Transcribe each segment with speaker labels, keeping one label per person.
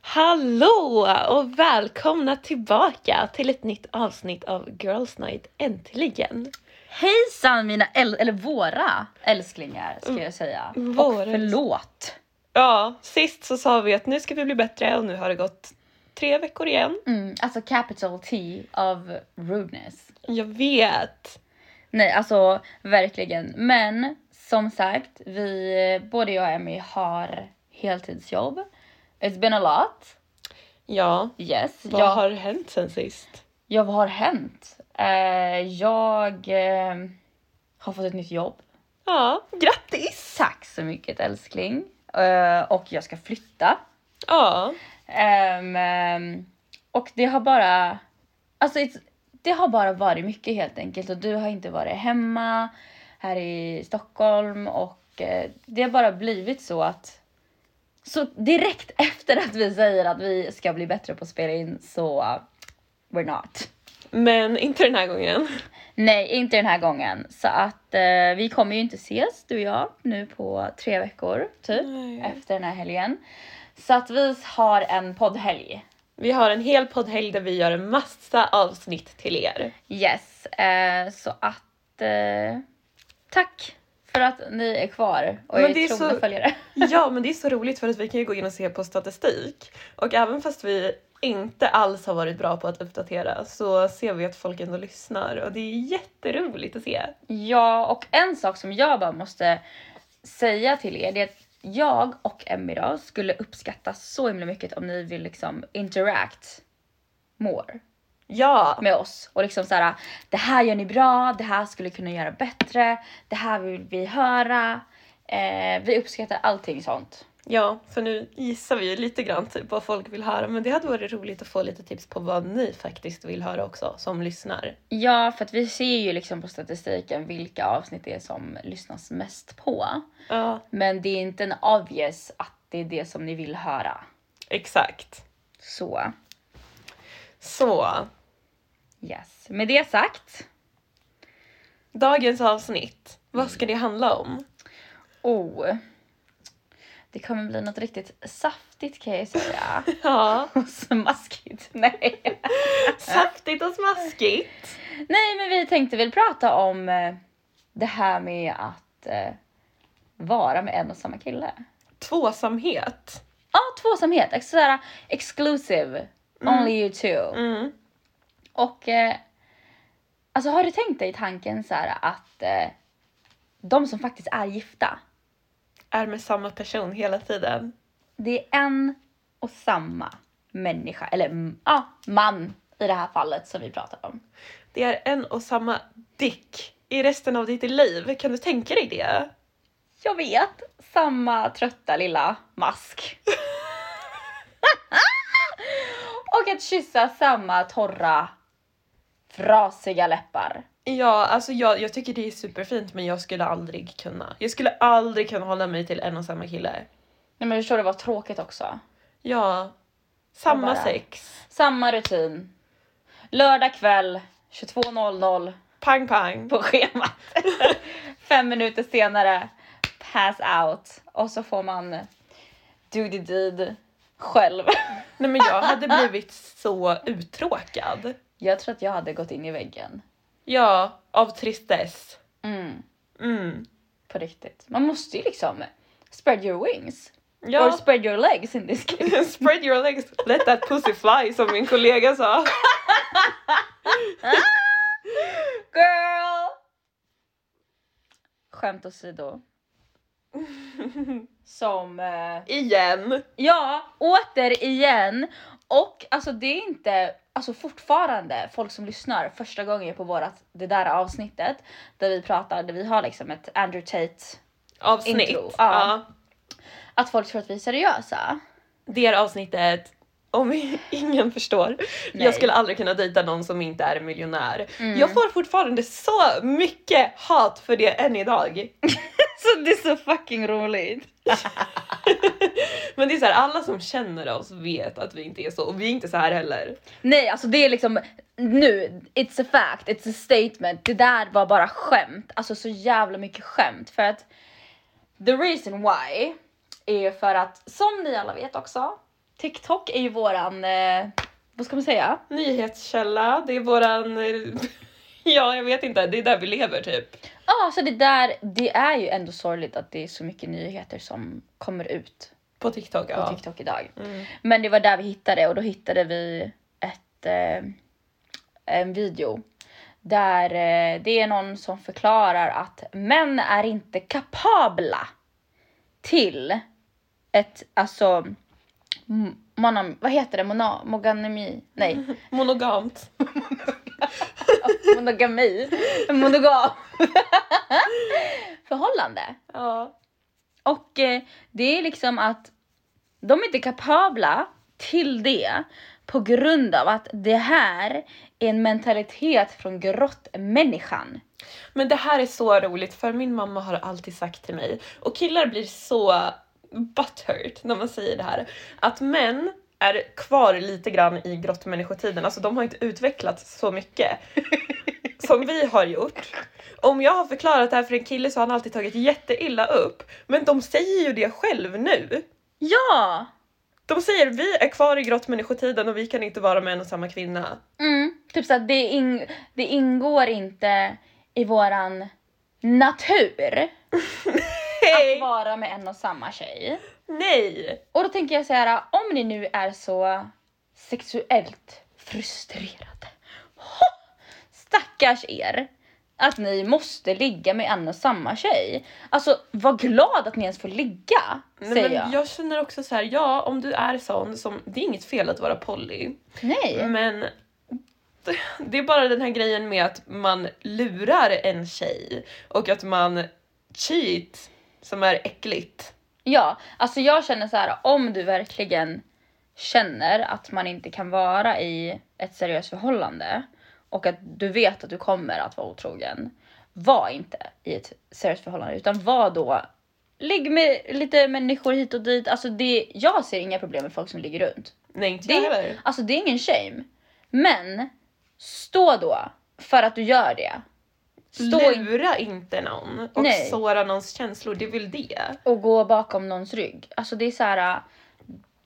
Speaker 1: Hallå och välkomna tillbaka till ett nytt avsnitt av Girls Night äntligen.
Speaker 2: Hejsan mina, äl- eller våra älsklingar ska jag säga.
Speaker 1: våra.
Speaker 2: Och förlåt.
Speaker 1: Ja, sist så sa vi att nu ska vi bli bättre och nu har det gått tre veckor igen.
Speaker 2: Mm, alltså capital T av rudeness.
Speaker 1: Jag vet.
Speaker 2: Nej, alltså verkligen. Men som sagt, vi, både jag och Emmy har heltidsjobb. It's been a lot.
Speaker 1: Ja,
Speaker 2: Yes.
Speaker 1: vad
Speaker 2: jag,
Speaker 1: har hänt sen sist?
Speaker 2: jag, vad har hänt? Eh, jag eh, har fått ett nytt jobb.
Speaker 1: Ja, grattis!
Speaker 2: Tack så mycket älskling. Eh, och jag ska flytta.
Speaker 1: Ja,
Speaker 2: Ehm, ehm, och det har bara... Alltså it's, det har bara varit mycket helt enkelt och du har inte varit hemma här i Stockholm och eh, det har bara blivit så att... Så direkt efter att vi säger att vi ska bli bättre på att spela in så uh, we're not.
Speaker 1: men inte den här gången.
Speaker 2: Nej, inte den här gången. Så att eh, vi kommer ju inte ses du och jag nu på tre veckor typ
Speaker 1: Nej.
Speaker 2: efter den här helgen. Så att vi har en poddhelg.
Speaker 1: Vi har en hel poddhelg där vi gör en massa avsnitt till er.
Speaker 2: Yes, eh, så att eh, tack för att ni är kvar och
Speaker 1: Men det är
Speaker 2: är trogna
Speaker 1: så-
Speaker 2: följare.
Speaker 1: Ja, men det är så roligt för att vi kan ju gå in och se på statistik. Och även fast vi inte alls har varit bra på att uppdatera så ser vi att folk ändå lyssnar och det är jätteroligt att se.
Speaker 2: Ja, och en sak som jag bara måste säga till er det är att jag och Emmy då skulle uppskatta så himla mycket om ni vill liksom interact more
Speaker 1: Ja,
Speaker 2: med oss och liksom så här det här gör ni bra, det här skulle kunna göra bättre, det här vill vi höra. Eh, vi uppskattar allting sånt.
Speaker 1: ja, för nu gissar vi ju lite grann typ vad folk vill höra men det hade varit roligt att få lite tips på vad ni faktiskt vill höra också som lyssnar.
Speaker 2: Ja, för att vi ser ju liksom på statistiken vilka avsnitt det är som lyssnas mest på.
Speaker 1: Ja,
Speaker 2: Men det är inte en obvious att det är det som ni vill höra.
Speaker 1: exakt.
Speaker 2: Så
Speaker 1: Så,
Speaker 2: yes. Med det sagt.
Speaker 1: dagens avsnitt, vad ska det handla om?
Speaker 2: Oh. Det kommer bli något riktigt saftigt kan jag ju säga.
Speaker 1: Ja,
Speaker 2: Och Smaskigt. Nej.
Speaker 1: saftigt och smaskigt.
Speaker 2: Nej, men vi tänkte väl prata om eh, det här med att eh, vara med en och samma kille.
Speaker 1: Tvåsamhet.
Speaker 2: Ja, tvåsamhet. Ex- sådär, exclusive. Only you two.
Speaker 1: Mm.
Speaker 2: Och eh, alltså har du tänkt dig tanken så här att eh, de som faktiskt är gifta,
Speaker 1: är med samma person hela tiden.
Speaker 2: det är en och samma människa, eller mm, ja, man i det här fallet som vi pratar om.
Speaker 1: Det är en och samma dick i resten av ditt liv. Kan du tänka dig det?
Speaker 2: Jag vet, samma trötta lilla mask. och att kyssa samma torra, frasiga läppar.
Speaker 1: Ja, alltså jag, jag tycker det är superfint men jag skulle aldrig kunna. Jag skulle aldrig kunna hålla mig till en och samma kille.
Speaker 2: Nej men förstår du vad tråkigt också?
Speaker 1: Ja, samma
Speaker 2: Bara-
Speaker 1: sex.
Speaker 2: Samma rutin. Lördag kväll 22.00
Speaker 1: Pang pang.
Speaker 2: på schemat. Fem minuter senare, pass out. Och så får man do the deed själv.
Speaker 1: Nej men jag hade blivit så uttråkad.
Speaker 2: Jag tror att jag hade gått in i väggen.
Speaker 1: Ja, av tristess.
Speaker 2: Mm,
Speaker 1: Mm.
Speaker 2: på riktigt. Man måste ju liksom spread your wings. Or
Speaker 1: Ja,
Speaker 2: spread your legs in this case.
Speaker 1: spread your legs, let that pussy fly som min kollega sa.
Speaker 2: Girl! Skämt åsido. Som... Eh,
Speaker 1: Igen.
Speaker 2: Ja, återigen. Och alltså det är inte, alltså fortfarande folk som lyssnar första gången på vårat, det där avsnittet där vi pratar, där vi har liksom ett Andrew Tate,
Speaker 1: Avsnitt.
Speaker 2: Intro, ja.
Speaker 1: ja.
Speaker 2: att folk tror att vi är seriösa.
Speaker 1: det här avsnittet om ingen förstår.
Speaker 2: Nej. Mm.
Speaker 1: Jag skulle aldrig kunna dejta någon som inte är miljonär. Jag får fortfarande så mycket hat för det än idag.
Speaker 2: Så det är så fucking roligt.
Speaker 1: Men det är så här, alla som känner oss vet att vi inte är så och vi är inte så här heller.
Speaker 2: Nej, alltså det är liksom nu, it's a fact, it's a statement. Det där var bara skämt, alltså så jävla mycket skämt för att the reason why är för att som ni alla vet också TikTok är ju våran, eh, vad ska man säga?
Speaker 1: Nyhetskälla, det är våran... Ja, jag vet inte. Det är där vi lever typ.
Speaker 2: Ja, så det där, det är ju ändå sorgligt att det är så mycket nyheter som kommer ut
Speaker 1: På TikTok,
Speaker 2: på
Speaker 1: ja.
Speaker 2: TikTok idag.
Speaker 1: Mm.
Speaker 2: Men det var där vi hittade och då hittade vi ett, eh, en video där eh, det är någon som förklarar att män är inte kapabla till ett, alltså, m- monam, vad heter det, Mona, monogami, nej,
Speaker 1: Monogamt.
Speaker 2: monogami, monogam förhållande.
Speaker 1: Ja.
Speaker 2: Och eh, det är liksom att de är inte kapabla till det på grund av att det här är en mentalitet från grottmänniskan.
Speaker 1: Men det här är så roligt för min mamma har alltid sagt till mig, och killar blir så butthurt när man säger det här, att män är kvar lite grann i grottmänniskotiden, alltså de har inte utvecklats så mycket som vi har gjort. Om jag har förklarat det här för en kille så har han alltid tagit jätteilla upp, men de säger ju det själv nu.
Speaker 2: Ja!
Speaker 1: De säger vi är kvar i grottmänniskotiden och vi kan inte vara med en och samma kvinna.
Speaker 2: Mm, typ så att det, ing- det ingår inte i våran natur att
Speaker 1: Hej!
Speaker 2: vara med en och samma tjej.
Speaker 1: Nej!
Speaker 2: Och då tänker jag så här, om ni nu är så sexuellt frustrerade. Ho! Stackars er! Att ni måste ligga med en och samma tjej. Alltså var glad att ni ens får ligga,
Speaker 1: Nej,
Speaker 2: säger
Speaker 1: men
Speaker 2: jag.
Speaker 1: jag. känner också så här, ja om du är sån som, det är inget fel att vara poly,
Speaker 2: Nej.
Speaker 1: men det- det är bara den här grejen med att man lurar en tjej och att man cheat som är äckligt.
Speaker 2: Ja, alltså jag känner så här, om du verkligen känner att man inte kan vara i ett seriöst förhållande och att du vet att du kommer att vara otrogen. Var inte i ett seriöst förhållande utan var då Ligg med lite människor hit och dit. Alltså det, jag ser inga problem med folk som ligger runt.
Speaker 1: Nej inte
Speaker 2: Det-
Speaker 1: jag heller.
Speaker 2: Alltså det är ingen shame. Men stå då för att du gör det. Stå inte
Speaker 1: Lura inte någon och
Speaker 2: Nej.
Speaker 1: såra någons känslor, det är väl det.
Speaker 2: och gå bakom någons rygg. Alltså det är så här.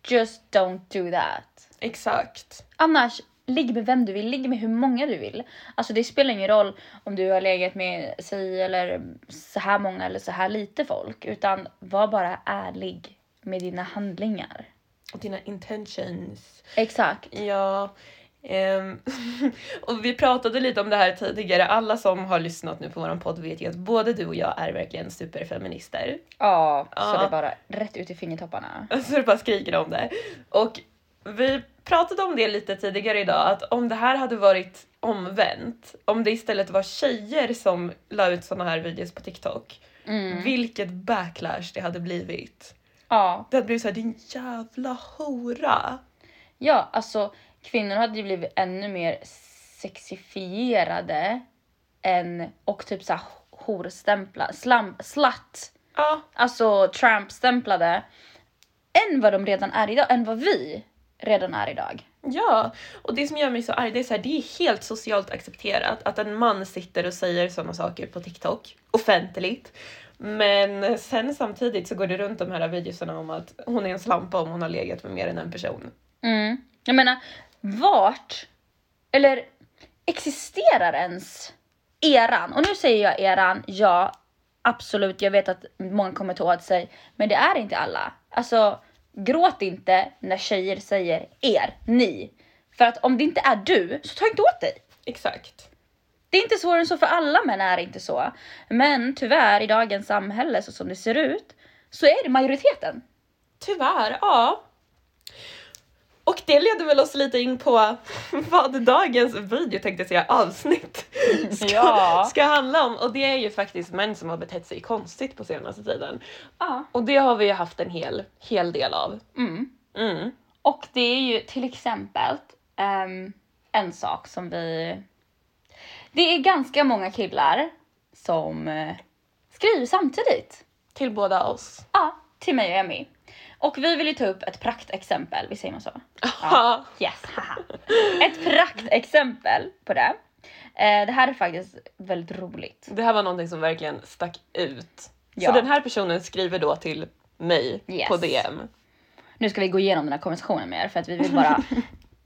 Speaker 2: Just don't do that.
Speaker 1: Exakt.
Speaker 2: Annars, ligg med vem du vill, ligg med hur många du vill. Alltså det spelar ingen roll om du har legat med sig eller så här många eller så här lite folk. Utan var bara ärlig med dina handlingar.
Speaker 1: Och dina intentions.
Speaker 2: Exakt.
Speaker 1: Ja. ehm, och vi pratade lite om det här tidigare. Alla som har lyssnat nu på vår podd vet ju att både du och jag är verkligen superfeminister.
Speaker 2: Ja,
Speaker 1: Ja.
Speaker 2: så det är bara rätt ut i fingertopparna.
Speaker 1: Så det bara skriker om det. Och vi pratade om det lite tidigare idag, att om det här hade varit omvänt, om det istället var tjejer som la ut såna här videos på TikTok,
Speaker 2: Mm.
Speaker 1: vilket backlash det hade blivit.
Speaker 2: Ja.
Speaker 1: Det hade blivit såhär, din jävla hora!
Speaker 2: ja, alltså kvinnor hade ju blivit ännu mer sexifierade än, och typ såhär horstämpla, slam, slatt.
Speaker 1: Ja,
Speaker 2: alltså Trump-stämplade än vad de redan är idag, än vad vi redan är idag.
Speaker 1: Ja, och det som gör mig så arg det är så här, det är helt socialt accepterat att en man sitter och säger sådana saker på TikTok offentligt. Men sen samtidigt så går det runt de här videorna om att hon är en slampa om hon har legat med mer än en person.
Speaker 2: Mm. Jag menar, vart, eller existerar ens eran? Och nu säger jag eran, ja absolut, jag vet att många kommer ta åt sig, men det är inte alla. Alltså, gråt inte när tjejer säger er, ni. För att om det inte är du, så ta inte åt dig.
Speaker 1: Exakt.
Speaker 2: Det är inte svårare än så för alla män är det inte så. Men tyvärr i dagens samhälle så som det ser ut så är det majoriteten.
Speaker 1: Tyvärr, ja. Och det leder väl oss lite in på vad dagens video tänkte jag säga avsnitt ska,
Speaker 2: Ja.
Speaker 1: ska handla om. Och det är ju faktiskt män som har betett sig konstigt på senaste tiden.
Speaker 2: Ja.
Speaker 1: Och det har vi ju haft en hel, hel del av.
Speaker 2: Mm.
Speaker 1: Mm.
Speaker 2: Och det är ju till exempel ehm, en sak som vi... Det är ganska många killar som eh, skriver samtidigt.
Speaker 1: Till båda oss.
Speaker 2: Ja, till mig och Emmy. Och vi vill ju ta upp ett praktexempel, vi säger man så?
Speaker 1: Ja.
Speaker 2: Yes, haha. Ett praktexempel på det. Eh, det här är faktiskt väldigt roligt.
Speaker 1: Det här var någonting som verkligen stack ut.
Speaker 2: Ja.
Speaker 1: Så den här personen skriver då till mig
Speaker 2: Yes.
Speaker 1: på DM.
Speaker 2: nu ska vi gå igenom den här konversationen med er för att vi vill bara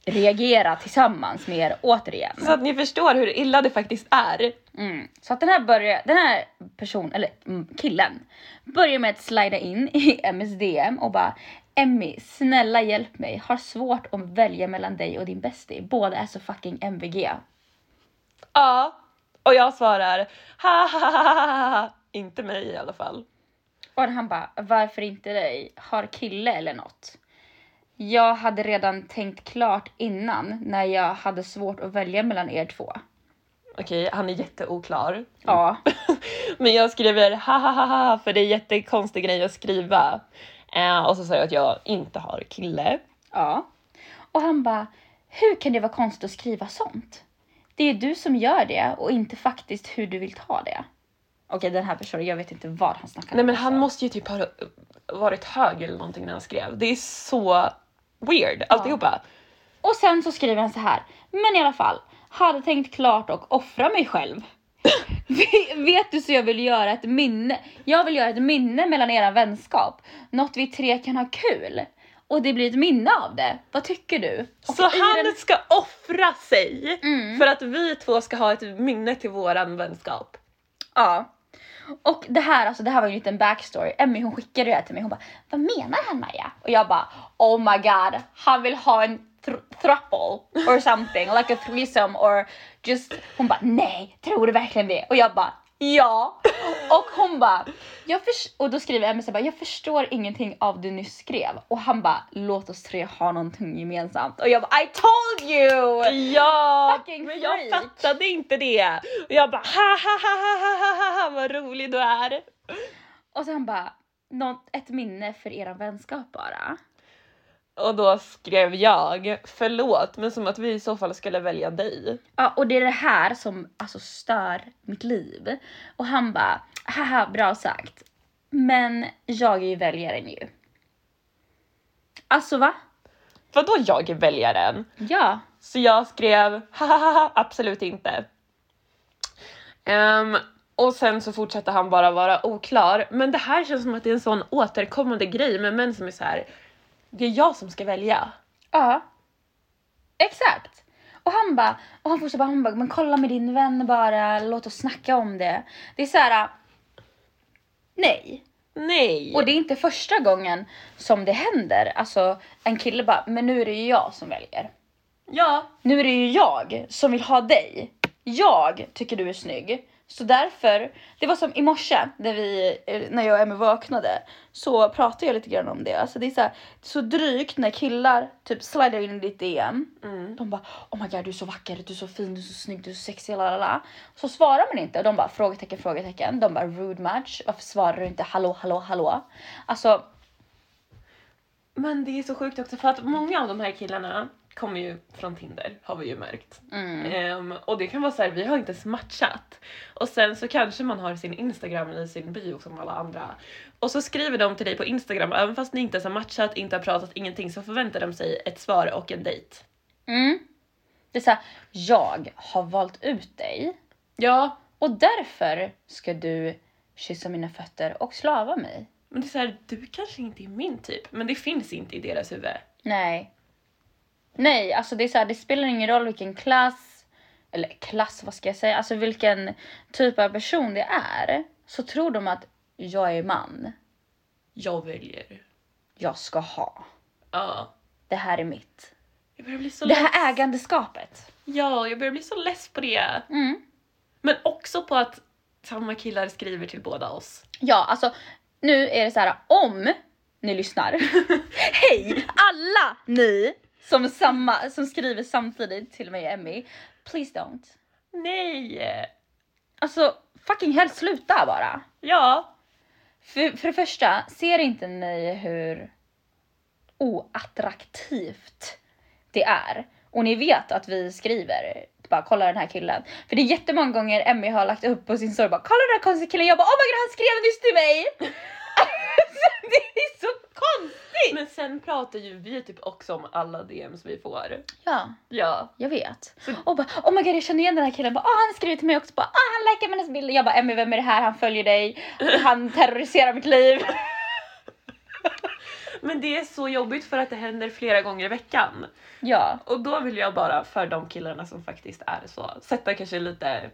Speaker 2: reagera tillsammans med er återigen.
Speaker 1: Så att ni förstår hur illa det faktiskt är.
Speaker 2: Mm. Så att den här, börjar, den här personen, eller mm, killen, börjar med att slida in i Emmys DM och bara Emmy, snälla hjälp mig. Har svårt att välja mellan dig och din bästie. Båda är så fucking MVG.
Speaker 1: Ja. Och jag svarar ha ha ha ha, ha ha. Inte mig i alla fall.
Speaker 2: Och han bara, varför inte dig? Har kille eller något? Jag hade redan tänkt klart innan när jag hade svårt att välja mellan er två.
Speaker 1: Okej, han är jätteoklar.
Speaker 2: Ja,
Speaker 1: Men jag skriver ha ha ha ha för det är jättekonstig grej att skriva. Eh, och så säger jag att jag inte har kille.
Speaker 2: ja. Och han bara, hur kan det vara konstigt att skriva sånt? Det är du som gör det och inte faktiskt hur du vill ta det. Okej, den här personen, jag vet inte vad han snackar
Speaker 1: Nej men
Speaker 2: om,
Speaker 1: han
Speaker 2: alltså.
Speaker 1: måste ju typ ha varit hög eller någonting när han skrev. Det är så weird alltihopa.
Speaker 2: Och sen så skriver han så här. Men i alla fall, hade tänkt klart och offra mig själv. Ve- Vet du så jag vill göra ett minne. Jag vill göra ett minne mellan era vänskap. Något vi tre kan ha kul. Och det blir ett minne av det. Vad tycker du? Och
Speaker 1: Så
Speaker 2: i
Speaker 1: han
Speaker 2: den-
Speaker 1: ska offra sig
Speaker 2: Mm.
Speaker 1: för att vi två ska ha ett minne till våran vänskap.
Speaker 2: Ja. Och det här, alltså, det här var ju en liten backstory. Emmy hon skickade det här till mig. Hon bara, vad menar han Maja? Och jag bara, oh my god, han vill ha en thr- thruple or something, like a threesome or just... Hon bara, nej, tror du verkligen det? Och jag bara, ja. Och hon bara, jag förs-" och då skriver Emmy så här bara, jag förstår ingenting av det du nyss skrev. Och han bara, låt oss tre ha någonting gemensamt. Och jag bara, I told you!
Speaker 1: Ja,
Speaker 2: Fucking
Speaker 1: men jag
Speaker 2: freak.
Speaker 1: fattade inte det. Och jag bara ha ha ha ha ha ha ha vad rolig du är.
Speaker 2: Och sen bara, något, ett minne för era vänskap bara.
Speaker 1: Och då skrev jag förlåt men som att vi i så fall skulle välja dig.
Speaker 2: Ja, och det är det här som alltså, stör mitt liv. Och han bara, haha, bra sagt. Men jag är ju väljaren ju. Alltså va?
Speaker 1: Vadå jag är väljaren?
Speaker 2: Ja.
Speaker 1: Så jag skrev ha ha ha ha absolut inte. Ehm, och sen så fortsatte han bara vara oklar. Men det här känns som att det är en sån återkommande grej med män som är så här. Det är jag som ska välja.
Speaker 2: Ja. Exakt. Och han bara, och han fortsätter bara, han bara, men kolla med din vän bara, låt oss snacka om det. Det är så här. Nej.
Speaker 1: Nej.
Speaker 2: Och det är inte första gången som det händer. Alltså en kille bara, men nu är det ju jag som väljer.
Speaker 1: ja.
Speaker 2: Nu är det ju jag som vill ha dig. Jag tycker du är snygg. Så därför, det var som i morse när, vi, eh, när jag och Emmy vaknade så pratade jag lite grann om det. Alltså det är så, här, så drygt när killar typ slidar in i ditt DM.
Speaker 1: Mm.
Speaker 2: De bara oh my god du är så vacker, du är så fin, du är så snygg, du är så sexig, lalala. Så svarar man inte och de bara frågetecken, frågetecken. De bara rude match, varför svarar du inte hallå, hallå, hallå? Alltså
Speaker 1: Men det är så sjukt också för att många av de här killarna kommer ju från Tinder har vi ju märkt.
Speaker 2: mm.
Speaker 1: Ehm, och det kan vara så här, vi har inte ens matchat. Och sen så kanske man har sin Instagram i sin bio som alla andra. Och så skriver de till dig på Instagram och även fast ni inte ens har matchat, inte har pratat, ingenting så förväntar de sig ett svar och en dejt.
Speaker 2: Mm. Det är såhär, jag har valt ut dig
Speaker 1: Ja,
Speaker 2: och därför ska du kyssa mina fötter och slava mig.
Speaker 1: men det är så här, du kanske inte är min typ, men det finns inte i deras huvud.
Speaker 2: Nej. Nej, alltså det är så här, det spelar ingen roll vilken klass, eller klass vad ska jag säga, alltså vilken typ av person det är, så tror de att jag är man,
Speaker 1: Jag väljer.
Speaker 2: jag ska ha,
Speaker 1: Ja.
Speaker 2: det här är mitt.
Speaker 1: Jag börjar bli så
Speaker 2: Det
Speaker 1: less.
Speaker 2: här ägandeskapet.
Speaker 1: Ja, jag börjar bli så less på det.
Speaker 2: Mm.
Speaker 1: Men också på att samma killar skriver till båda oss.
Speaker 2: Ja, alltså nu är det så här om ni lyssnar. Hej alla ni som, samma, som skriver samtidigt till mig och Emmy. Please don't.
Speaker 1: Nej!
Speaker 2: Alltså fucking helst sluta bara.
Speaker 1: Ja.
Speaker 2: För, för det första, ser inte ni hur oattraktivt det är? Och ni vet att vi skriver bara kolla den här killen. För det är jättemånga gånger Emmy har lagt upp på sin story bara kolla den här konstiga killen. Jag bara oh my god han skrev nyss till mig. Så det är så konstigt.
Speaker 1: Men sen pratar ju vi typ också om alla DMs vi får.
Speaker 2: Ja,
Speaker 1: Ja.
Speaker 2: jag vet.
Speaker 1: Så-
Speaker 2: Och bara oh my god jag känner igen den här killen. Bara, oh, han skriver till mig också. Bara, oh, han likar mina bilder. Jag bara Emmy vem är det här? Han följer dig. Han terroriserar mitt liv.
Speaker 1: Men det är så jobbigt för att det händer flera gånger i veckan.
Speaker 2: Ja,
Speaker 1: Och då vill jag bara för de killarna som faktiskt är så, sätta kanske lite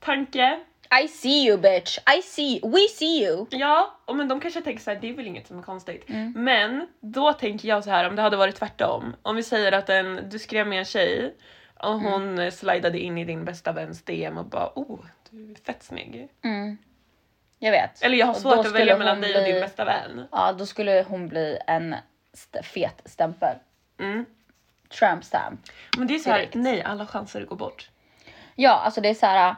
Speaker 1: tanke.
Speaker 2: I see you bitch, I see, we see you.
Speaker 1: Ja, och men de kanske tänker så här, det är väl inget som är konstigt.
Speaker 2: Mm.
Speaker 1: Men då tänker jag så här om det hade varit tvärtom. Om vi säger att en, du skrev med en tjej och hon mm. slidade in i din bästa väns DM och bara oh, du är fett snygg.
Speaker 2: Mm. Jag vet.
Speaker 1: Eller jag har
Speaker 2: Och
Speaker 1: svårt
Speaker 2: då
Speaker 1: att
Speaker 2: skulle
Speaker 1: välja mellan
Speaker 2: hon
Speaker 1: dig och din
Speaker 2: bli-
Speaker 1: bästa vän.
Speaker 2: Ja, då skulle hon bli en st- fet stämpel.
Speaker 1: Mm.
Speaker 2: Tramp stamp.
Speaker 1: Men det är så här,
Speaker 2: Direkt.
Speaker 1: nej alla chanser går bort.
Speaker 2: Ja, alltså det är så här.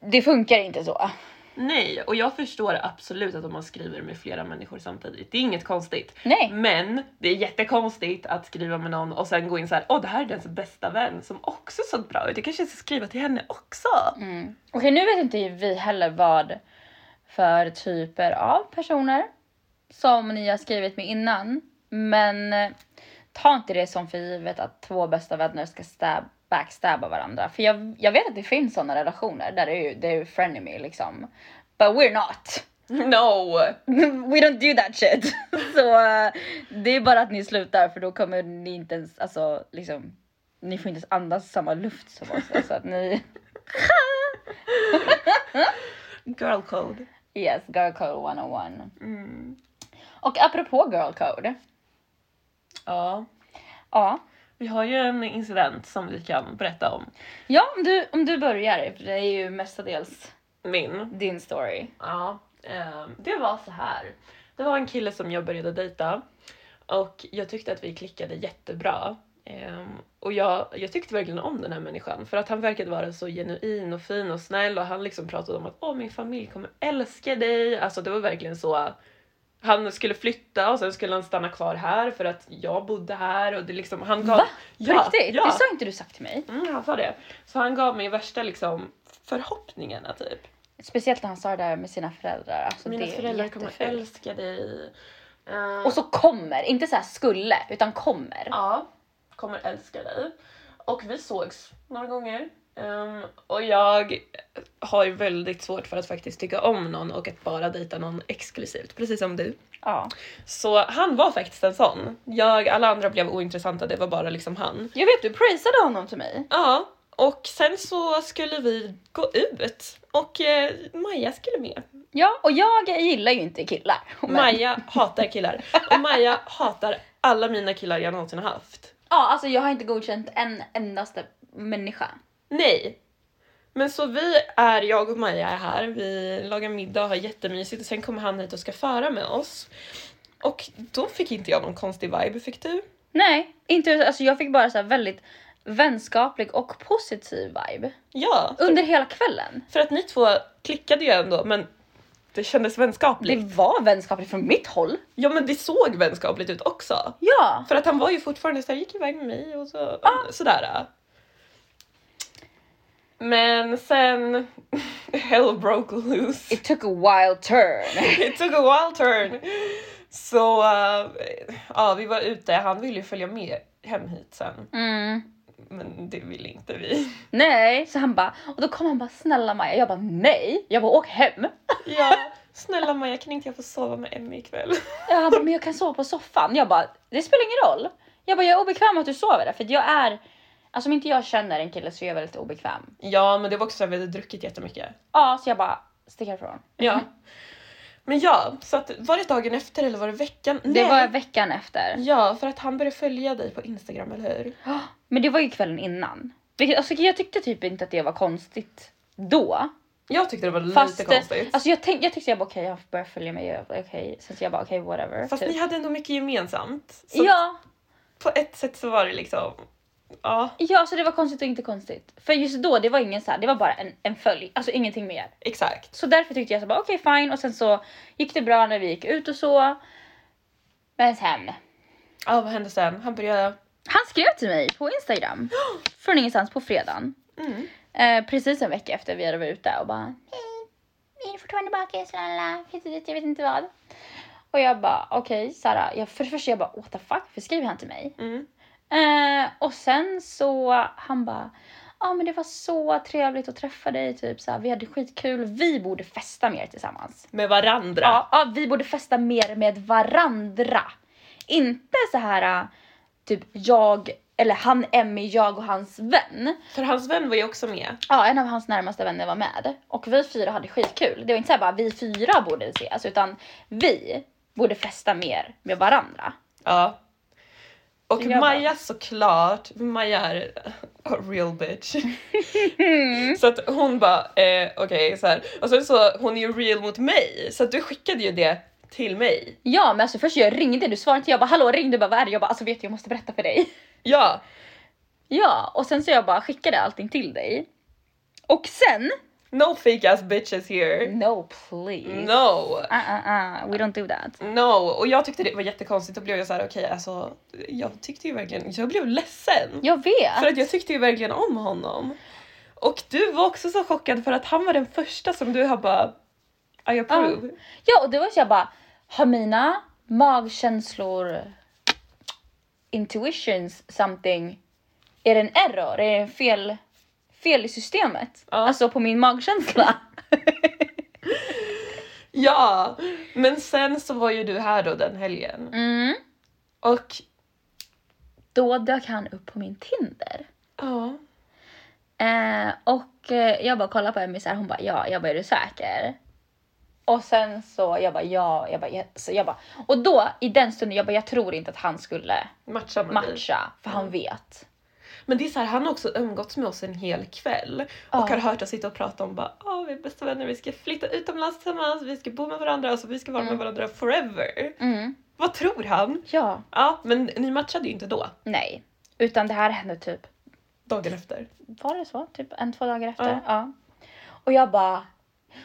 Speaker 2: Det funkar inte så.
Speaker 1: Nej, och jag förstår absolut att om man skriver med flera människor samtidigt, det är inget konstigt.
Speaker 2: Nej,
Speaker 1: Men det är jättekonstigt att skriva med någon och sen gå in så här, åh det här är dens bästa vän som också såg bra ut, jag kanske ska skriva till henne också.
Speaker 2: Mm. Okej, nu vet inte vi heller vad för typer av personer som ni har skrivit med innan. Men eh, ta inte det som för givet att två bästa vänner ska stab- backstabba varandra. För jag, jag vet att det finns sådana relationer där det är, ju- det är ju frenemy liksom. But we're not.
Speaker 1: No!
Speaker 2: We don't do that shit. Så eh, det är bara att ni slutar för då kommer ni inte ens, alltså liksom, ni får inte ens andas samma luft som oss. Så att ni
Speaker 1: Girl code.
Speaker 2: Yes, girl code 101.
Speaker 1: Mm.
Speaker 2: Och apropå girl code.
Speaker 1: Ja,
Speaker 2: Ja,
Speaker 1: vi har ju en incident som vi kan berätta om.
Speaker 2: ja om, du, om du börjar, för det är ju mestadels
Speaker 1: Min
Speaker 2: din story.
Speaker 1: Ja, ehm, det var så här. Det var en kille som jag började dejta och jag tyckte att vi klickade jättebra. Ehm, och jag, jag tyckte verkligen om den här människan för att han verkade vara så genuin och fin och snäll och han liksom pratade om att åh min familj kommer älska dig. Alltså det var verkligen så. Han skulle flytta och sen skulle han stanna kvar här för att jag bodde här och det liksom han gav...
Speaker 2: Va?
Speaker 1: Ja,
Speaker 2: På riktigt?
Speaker 1: Ja,
Speaker 2: Det sa inte du sagt till mig.
Speaker 1: mm, han sa det. Så han gav mig värsta liksom förhoppningarna typ.
Speaker 2: Speciellt när han sa det där med sina föräldrar. Alltså,
Speaker 1: Mina
Speaker 2: det är
Speaker 1: föräldrar kommer
Speaker 2: jättefult.
Speaker 1: älska dig. Eh,
Speaker 2: Och så kommer, inte så här skulle, utan kommer.
Speaker 1: Ja, kommer älska dig. Och vi sågs några gånger. Ehm, och jag har väldigt svårt för att faktiskt tycka om någon och att bara dejta någon exklusivt, precis som du.
Speaker 2: Ja.
Speaker 1: Så han var faktiskt en sån. Jag, alla andra blev ointressanta, det var bara liksom han.
Speaker 2: Jag vet, du prisade honom till mig.
Speaker 1: Ja, och sen så skulle vi gå ut och eh, Maja skulle med.
Speaker 2: Ja, och jag gillar ju inte killar. Men,
Speaker 1: Maja hatar killar. Och Maja hatar alla mina killar jag någonsin har haft.
Speaker 2: Ja, alltså jag har inte godkänt en endaste människa.
Speaker 1: Nej. Men så vi är, jag och Maja är här, vi lagar middag och har jättemysigt och sen kommer han hit och ska föra med oss. Och då fick inte jag någon konstig vibe, fick du?
Speaker 2: Nej, inte, alltså jag fick bara så här väldigt vänskaplig och positiv vibe.
Speaker 1: Ja,
Speaker 2: Under hela kvällen.
Speaker 1: för att ni två klickade ju ändå men det kändes
Speaker 2: Det
Speaker 1: vänskapligt.
Speaker 2: var vänskapligt från mitt håll.
Speaker 1: Ja men det såg vänskapligt ut också.
Speaker 2: Ja.
Speaker 1: För att han var ju fortfarande såhär, gick iväg med mig och så, sådär. Men sen, hell broke loose.
Speaker 2: It took a wild turn.
Speaker 1: It took a wild turn. Så eh, ja, vi var ute. Han ville ju följa med hem hit sen,
Speaker 2: Mm.
Speaker 1: men det ville inte vi.
Speaker 2: Nej, så han bara, och då kom han bara snälla Maja. Jag bara nej. Jag bara åk hem.
Speaker 1: Ja, snälla Maja, kan inte jag få sova med Emmy ikväll?
Speaker 2: Ja, Han bara, men jag kan sova på soffan. Jag bara, det spelar ingen roll. Jag bara, jag är obekväm att du sover där för att jag är, alltså om inte jag känner en kille så är jag väldigt obekväm.
Speaker 1: Ja, men det var också så att vi hade druckit jättemycket.
Speaker 2: Ja, så jag bara, stick härifrån.
Speaker 1: Ja. Men ja, så att, var det dagen efter eller var det veckan?
Speaker 2: Det var veckan efter.
Speaker 1: Ja, för att han började följa dig på Instagram, eller hur?
Speaker 2: Men det var ju kvällen innan. Vilket, alltså, jag tyckte typ inte att det var konstigt då.
Speaker 1: Jag tyckte det var
Speaker 2: Fast,
Speaker 1: lite konstigt.
Speaker 2: Alltså jag, tänk, jag tyckte jag bara okej, han börjar följa mig. jag bara, Okej. Sen så jag bara okej, whatever.
Speaker 1: Fast
Speaker 2: typ.
Speaker 1: ni hade ändå mycket gemensamt. Så
Speaker 2: ja,
Speaker 1: på ett sätt så var det liksom, ja,
Speaker 2: ja, så det var konstigt och inte konstigt. För just då, det var ingen så här, det var bara en, en följ, alltså ingenting mer.
Speaker 1: exakt.
Speaker 2: Så därför tyckte jag så bara okej, fine. Och sen så gick det bra när vi gick ut och så. Men sen,
Speaker 1: Ja, vad hände sen? Han började...
Speaker 2: han skrev till mig på Instagram från ingenstans på fredagen.
Speaker 1: Mm.
Speaker 2: Eh, precis en vecka efter vi hade varit ute och bara hej, är du fortfarande bakis? Lala, hit och dit, jag vet inte vad. Och jag bara okej Sara, jag, för det första jag bara what the fuck, för skriver han till mig?
Speaker 1: Mm.
Speaker 2: Eh, och sen så han bara ja ja men det var så trevligt att träffa dig, typ så här, vi hade skitkul, vi borde festa mer tillsammans.
Speaker 1: Med varandra.
Speaker 2: Ja, ja, vi borde festa mer med varandra. Inte så här äh, typ jag, eller han Emmy, jag och hans vän.
Speaker 1: För hans vän var ju också med.
Speaker 2: Ja, en av hans närmaste vänner var med och vi fyra hade skitkul. Det var inte så här bara vi fyra borde ses utan vi borde festa mer med varandra.
Speaker 1: Ja. Och
Speaker 2: Så jag bara-
Speaker 1: Maja såklart, Maja är a real bitch.
Speaker 2: Mm.
Speaker 1: så att hon bara, eh, okej så här. Och sen så, hon är ju real mot mig. Så att du skickade ju det till mig.
Speaker 2: Ja, men alltså först jag ringde, du svarade inte. Jag bara hallå ring, du bara vad är det? Jag bara alltså vet du, jag måste berätta för dig.
Speaker 1: Ja,
Speaker 2: Ja, och sen så jag bara skickade allting till dig. Och sen,
Speaker 1: no fake ass bitches here.
Speaker 2: no please.
Speaker 1: No.
Speaker 2: Uh, uh, uh, we don't do that.
Speaker 1: No. Och jag tyckte det var jättekonstigt. Då blev jag så här, okej alltså, jag tyckte ju verkligen, jag blev ledsen.
Speaker 2: Jag vet.
Speaker 1: För att jag tyckte ju verkligen om honom. Och du var också så chockad för att han var den första som du har bara I approve.
Speaker 2: Ja, och det var så jag bara, har mina magkänslor, intuitions something, är det en error? Är det en fel, fel i systemet?
Speaker 1: Ja.
Speaker 2: Alltså på min magkänsla?
Speaker 1: Ja, men sen så var ju du här då den helgen.
Speaker 2: Mm.
Speaker 1: Och
Speaker 2: Då dök han upp på min Tinder.
Speaker 1: ja,
Speaker 2: Eh, och eh, jag bara kollade på Emmy så här, hon bara ja, jag bara är du säker? Och sen så jag bara ja, jag bara, ja. Så jag bara och då i den stunden jag bara jag tror inte att han skulle
Speaker 1: matcha med dig.
Speaker 2: matcha för han vet.
Speaker 1: Men det är så här, han har också umgåtts med oss en hel kväll och
Speaker 2: Ja.
Speaker 1: har hört oss sitta och prata om bara ah vi är bästa vänner, vi ska flytta utomlands tillsammans, vi ska bo med varandra, alltså vi ska vara med varandra forever.
Speaker 2: Mm.
Speaker 1: Vad tror han?
Speaker 2: Ja,
Speaker 1: Ja, men ni matchade ju inte då,
Speaker 2: nej, utan det här hände typ
Speaker 1: dagen efter.
Speaker 2: var det så? Typ en, två dagar efter.
Speaker 1: Ja.
Speaker 2: Ja. Och jag bara...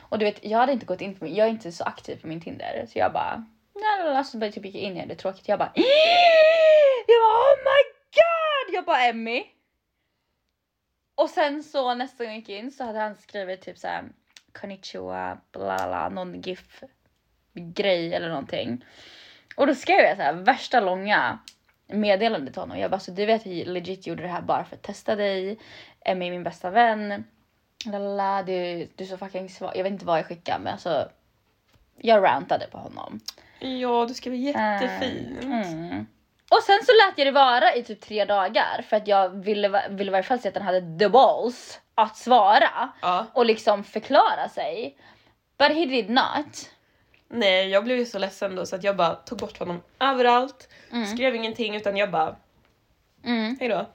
Speaker 2: Och du vet, jag hade inte gått in på min... Jag är inte så aktiv på min Tinder. Så jag bara... Nej, nej, nej, så bara typ gick jag in i det, det är tråkigt. Jag bara... Jag bara oh my god! Jag bara Emmy! Och sen så nästa gång jag gick in så hade han skrivit typ såhär konnichiwa, bla bla, bla, någon gif grej eller någonting. Och då skrev jag så här värsta långa meddelandet till honom. Jag bara, så du vet jag legit gjorde det här bara för att testa dig. Emmy är min bästa vän. Lala, du, du är så fucking svag. Jag vet inte vad jag skickade men alltså. Jag rantade på honom. Eh,
Speaker 1: Ja, du ska vara jättefin.
Speaker 2: Mm. Och sen så lät jag det vara i typ tre dagar för att jag ville, ville i varje fall se att han hade the balls att svara
Speaker 1: Ja.
Speaker 2: och liksom förklara sig. But he did not.
Speaker 1: Nej, jag blev ju så ledsen då så att jag bara tog bort honom överallt. Skrev ingenting utan jag bara,
Speaker 2: Mm.
Speaker 1: hejdå.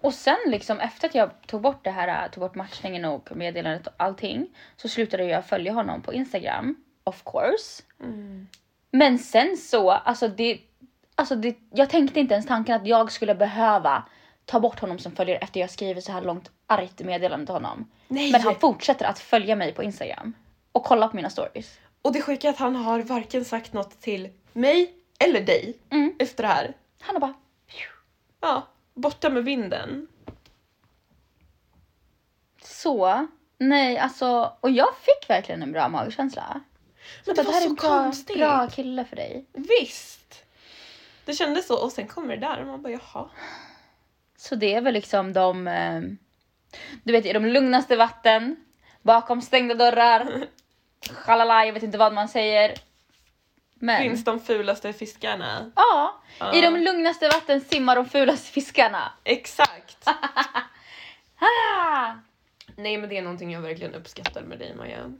Speaker 2: Och sen liksom efter att jag tog bort det här, tog bort matchningen och meddelandet och allting så slutade jag följa honom på Instagram, of course. Mm. Men sen så, alltså det, alltså det, jag tänkte inte ens tanken att jag skulle behöva ta bort honom som följare efter jag skrivit så här långt argt meddelande till honom.
Speaker 1: Nej!
Speaker 2: Men han fortsätter att följa mig på Instagram och kolla på mina stories.
Speaker 1: Och det sjuka är att han har varken sagt något till mig eller dig
Speaker 2: Mm.
Speaker 1: efter det här.
Speaker 2: Han har bara,
Speaker 1: Ja, borta med vinden.
Speaker 2: så, nej alltså, och jag fick verkligen en bra magkänsla.
Speaker 1: Men
Speaker 2: Så
Speaker 1: det var
Speaker 2: bara, här är
Speaker 1: så
Speaker 2: en bra,
Speaker 1: konstigt.
Speaker 2: Bra kille för dig.
Speaker 1: Visst! Det kändes så och sen kommer det där och man bara jaha.
Speaker 2: Så det är väl liksom de, eh, du vet i de lugnaste vatten, bakom stängda dörrar, shalala, jag vet inte vad man säger. Men
Speaker 1: Finns de fulaste fiskarna?
Speaker 2: ja,
Speaker 1: Ja.
Speaker 2: i de lugnaste vatten simmar de fulaste fiskarna.
Speaker 1: Exakt!
Speaker 2: Ah,
Speaker 1: Nej men det är någonting jag verkligen uppskattar med dig Maja.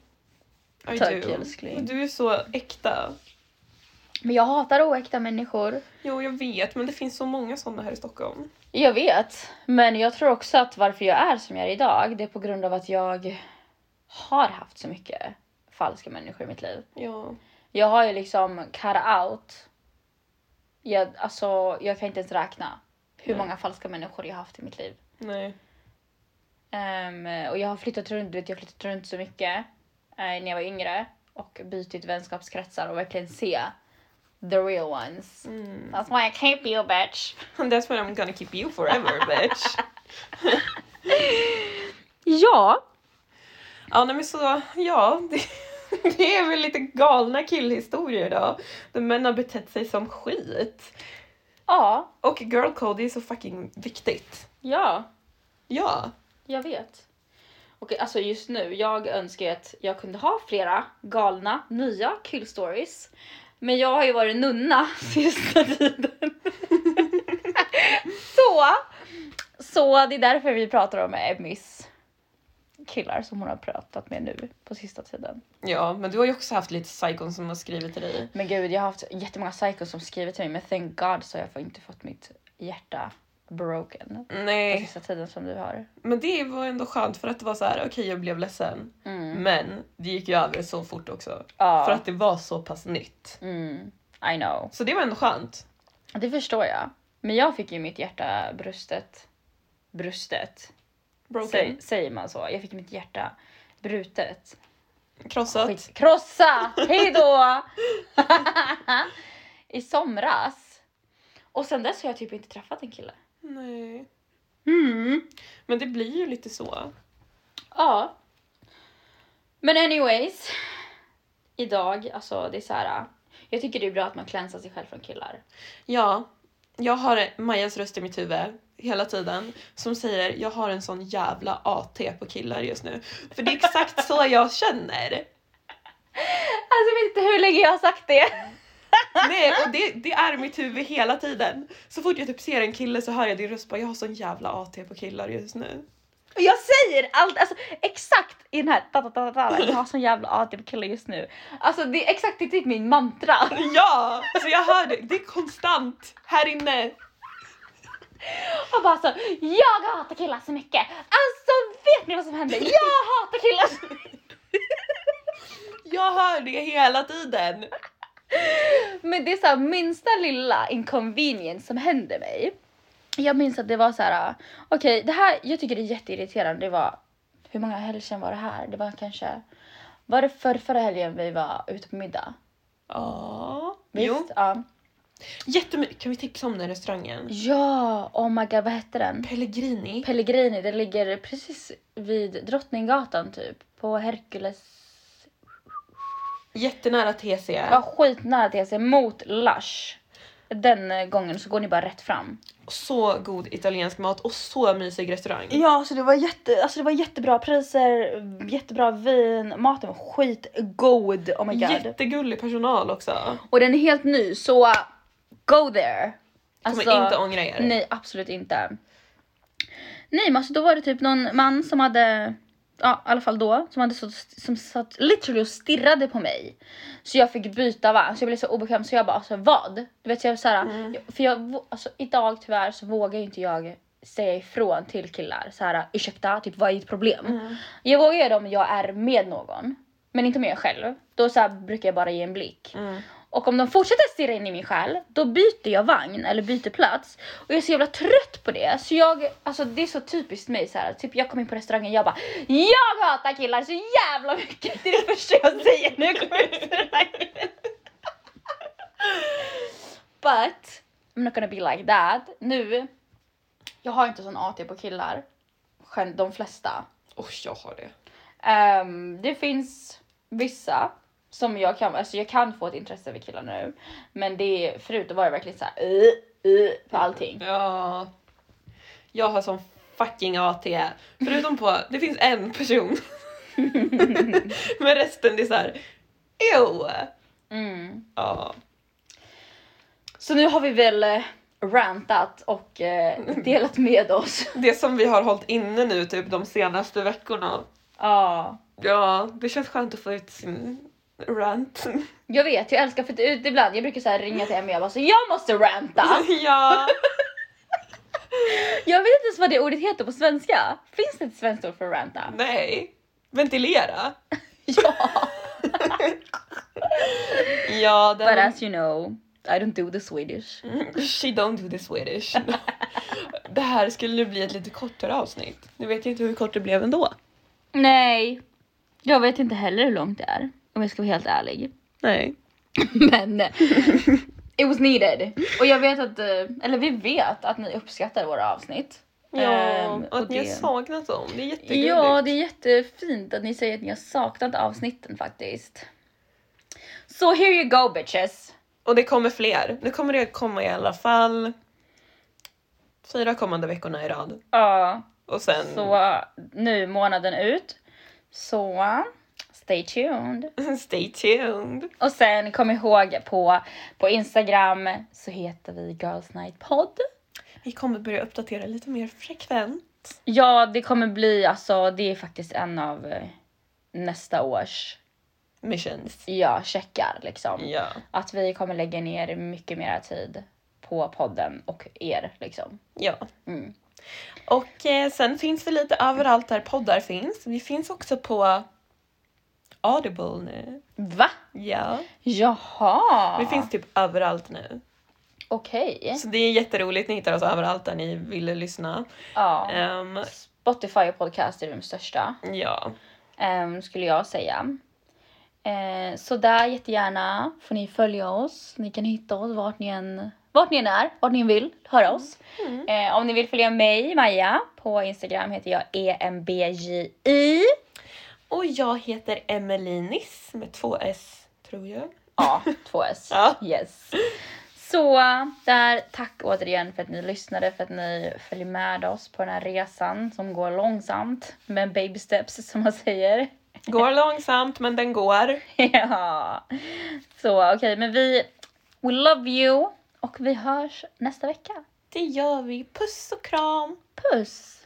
Speaker 1: I
Speaker 2: Tack,
Speaker 1: do.
Speaker 2: älskling.
Speaker 1: Du är så äkta.
Speaker 2: Men jag hatar oäkta människor.
Speaker 1: Jo, jag vet, men det finns så många sådana här i Stockholm.
Speaker 2: Jag vet, men jag tror också att varför jag är som jag är idag, det är på grund av att jag har haft så mycket falska människor i mitt liv.
Speaker 1: Ja.
Speaker 2: Jag har ju liksom cut out. Jag, alltså, jag kan inte ens räkna hur
Speaker 1: Nej.
Speaker 2: många falska människor jag har haft i mitt liv.
Speaker 1: Nej.
Speaker 2: Ehm, och jag har flyttat runt, du vet, jag har flyttat runt så mycket eh, när jag var yngre och bytt vänskapskretsar och verkligen se the real ones.
Speaker 1: Mm.
Speaker 2: That's why I keep you bitch.
Speaker 1: That's what I'm gonna keep you forever, bitch.
Speaker 2: Ja.
Speaker 1: ja, nej men så, ja. Det, det är väl lite galna killhistorier då. Där män har betett sig som skit.
Speaker 2: Ja.
Speaker 1: Och girl code är så fucking viktigt.
Speaker 2: Ja.
Speaker 1: Ja.
Speaker 2: Jag vet. Och alltså just nu, jag önskar ju att jag kunde ha flera galna, nya kul stories. Men jag har ju varit nunna sista tiden. så, så det är därför vi pratar om Emmys killar som hon har pratat med nu på sista tiden.
Speaker 1: Ja, men du har ju också haft lite psykon som har skrivit till dig.
Speaker 2: Men gud, jag har haft jättemånga psykos som skrivit till mig men thank god så har jag inte fått mitt hjärta broken på
Speaker 1: Nej,
Speaker 2: sista tiden som du har.
Speaker 1: men det var ändå skönt för att det var så här, okej jag blev ledsen.
Speaker 2: Mm.
Speaker 1: Men det gick ju över så fort också.
Speaker 2: Ja.
Speaker 1: För att det var så pass nytt.
Speaker 2: Mm, I know.
Speaker 1: Så det var ändå skönt.
Speaker 2: Det förstår jag. Men jag fick ju mitt hjärta brustet. Brustet?
Speaker 1: Broken.
Speaker 2: Säg, säger man så? Jag fick mitt hjärta brutet.
Speaker 1: Krossat.
Speaker 2: Skit. Krossa! Hejdå! I somras. Och sen dess har jag typ inte träffat en kille.
Speaker 1: Nej.
Speaker 2: Mm.
Speaker 1: Men det blir ju lite så.
Speaker 2: Ja. Men anyways. Idag, alltså det är så här. Jag tycker det är bra att man klänsar sig själv från killar.
Speaker 1: Ja, jag har Majas röst i mitt huvud hela tiden som säger jag har en sån jävla AT på killar just nu. För det är exakt så jag känner.
Speaker 2: Alltså jag vet inte hur länge jag har sagt det.
Speaker 1: Nej, och det, det är mitt huvud hela tiden. Så fort jag typ ser en kille så hör jag din röst bara jag har sån jävla AT på killar just nu.
Speaker 2: Och jag säger allt, alltså exakt i den här ta, ta, ta, ta, ta, jag har sån jävla ADHD-kille just nu. Alltså det är exakt, det är typ min mantra.
Speaker 1: Ja, så jag hör det. Det är konstant här inne.
Speaker 2: Och bara så, jag hatar killar så mycket. Alltså vet ni vad som händer? Jag hatar killar så mycket.
Speaker 1: Jag hör det hela tiden.
Speaker 2: Men det är så här, minsta lilla inconvenience som händer mig. Jag minns att det var så här, okej det här, jag tycker det är jätteirriterande. Det var, hur många helger sedan var det här? Det var kanske, var det för, förra helgen vi var ute på middag?
Speaker 1: Ja, jo.
Speaker 2: Visst? Ja.
Speaker 1: Jättemycket. Kan vi tipsa om den restaurangen?
Speaker 2: ja, oh my god vad hette den?
Speaker 1: Pellegrini.
Speaker 2: Pellegrini, det ligger precis vid Drottninggatan typ. På Hercules.
Speaker 1: Jättenära TC.
Speaker 2: Ja, skitnära till sig mot Lush. Den eh, gången så går ni bara rätt fram.
Speaker 1: Så god italiensk mat och så mysig restaurang.
Speaker 2: Ja, så det var, jätte, alltså det var jättebra priser, jättebra vin, maten var skitgod. Oh my god.
Speaker 1: Jättegullig personal också.
Speaker 2: Och den är helt ny så go there. Alltså-
Speaker 1: Kommer inte ångra er.
Speaker 2: Nej, absolut inte. Nej, men alltså då var det typ någon man som hade, ja i alla fall då, som hade så, som satt literally och stirrade på mig. Så jag fick byta va, så jag blev så obekväm så jag bara alltså vad? Du vet så jag var såhär, för jag, vå- alltså idag tyvärr så vågar ju inte jag säga ifrån till killar såhär ursäkta, typ vad är ditt problem?
Speaker 1: Mm.
Speaker 2: Jag vågar göra det om jag är med någon, men inte om jag är själv. Då så här brukar jag bara ge en blick.
Speaker 1: Mm.
Speaker 2: Och om de fortsätter stirra in i min själ, då byter jag vagn eller byter plats. Och jag är så jävla trött på det. Så jag, alltså det är så typiskt mig så här. Typ jag kom in på restaurangen och jag bara Jag hatar killar så jävla mycket! Det är det första jag säger när jag kommer in på restaurangen. But I'm not gonna be like that. Nu, jag har inte sån AT på killar. Gen- De flesta.
Speaker 1: Och jag har det.
Speaker 2: Ehm, det finns vissa som jag kan, alltså jag kan få ett intresse för killar nu. Men det är, förut då var jag verkligen såhär uh, uh, på allting.
Speaker 1: Ja. Jag har sån fucking AT. Förutom på, det finns en person. Men resten det är såhär, ew.
Speaker 2: Mm.
Speaker 1: Ja.
Speaker 2: Så nu har vi väl eh, rantat och eh, delat med oss.
Speaker 1: Det som vi har hållit inne nu typ de senaste veckorna.
Speaker 2: Ja.
Speaker 1: Ja, det känns skönt att få ut sin rant.
Speaker 2: Jag vet, jag älskar för att ut ibland, jag brukar så här ringa till Emmy och jag bara så jag måste ranta.
Speaker 1: ja.
Speaker 2: Jag vet inte ens vad det ordet heter på svenska. Finns det ett svenskt ord för ranta?
Speaker 1: Nej. Ventilera.
Speaker 2: Ja.
Speaker 1: Ja, den...
Speaker 2: But as you know, I don't do the Swedish.
Speaker 1: She don't do the Swedish. det här skulle nu bli ett lite kortare avsnitt. Nu vet jag inte hur kort det blev ändå.
Speaker 2: Nej, jag vet inte heller hur långt det är om jag ska vara helt ärlig.
Speaker 1: Nej.
Speaker 2: Men eh, it was needed. Och jag vet att, eh, eller vi vet att ni uppskattar våra avsnitt.
Speaker 1: Ja,
Speaker 2: Ehm,
Speaker 1: och att ni har saknat dem. Det är jättegulligt.
Speaker 2: Ja, det är jättefint att ni säger att ni har saknat avsnitten faktiskt. Så here you go bitches.
Speaker 1: Och det kommer fler. Nu kommer det komma i alla fall fyra kommande veckorna i rad.
Speaker 2: Ja,
Speaker 1: Och sen...
Speaker 2: Så eh, nu månaden ut. Så stay tuned.
Speaker 1: Stay tuned.
Speaker 2: Och sen kom ihåg på, på Instagram så heter vi Girls Night Pod.
Speaker 1: Vi kommer börja uppdatera lite mer frekvent.
Speaker 2: Ja, det kommer bli alltså, det är faktiskt en av eh, nästa års
Speaker 1: Missions.
Speaker 2: ja, checkar liksom.
Speaker 1: Ja.
Speaker 2: Att vi kommer lägga ner mycket mer tid på podden och er liksom.
Speaker 1: Ja.
Speaker 2: Mm.
Speaker 1: Och eh, sen finns vi lite överallt där poddar finns. Vi finns också på Audible nu.
Speaker 2: Va?
Speaker 1: Ja.
Speaker 2: Jaha!
Speaker 1: Vi finns typ överallt nu.
Speaker 2: Okej.
Speaker 1: Så det är jätteroligt, ni hittar oss överallt där ni vill lyssna.
Speaker 2: Ja.
Speaker 1: Ehm,
Speaker 2: Spotify och podcast är de största,
Speaker 1: ja.
Speaker 2: ehm, skulle jag säga. Eh, så där jättegärna får ni följa oss. Ni kan hitta oss vart ni än, vart ni än är, vart ni än vill höra oss.
Speaker 1: Mm.
Speaker 2: Eh, om ni vill följa mig, Maja, på Instagram heter jag E EMBJI.
Speaker 1: Och jag heter Emelie Niss med två S, tror jag.
Speaker 2: Ja, två S.
Speaker 1: Ja.
Speaker 2: Yes. Så där, tack återigen för att ni lyssnade, för att ni följer med oss på den här resan som går långsamt, men baby steps som man säger.
Speaker 1: Går långsamt, men den går.
Speaker 2: ja. Så okej, men vi, we love you och vi hörs nästa vecka.
Speaker 1: Det gör vi. Puss och kram!
Speaker 2: Puss!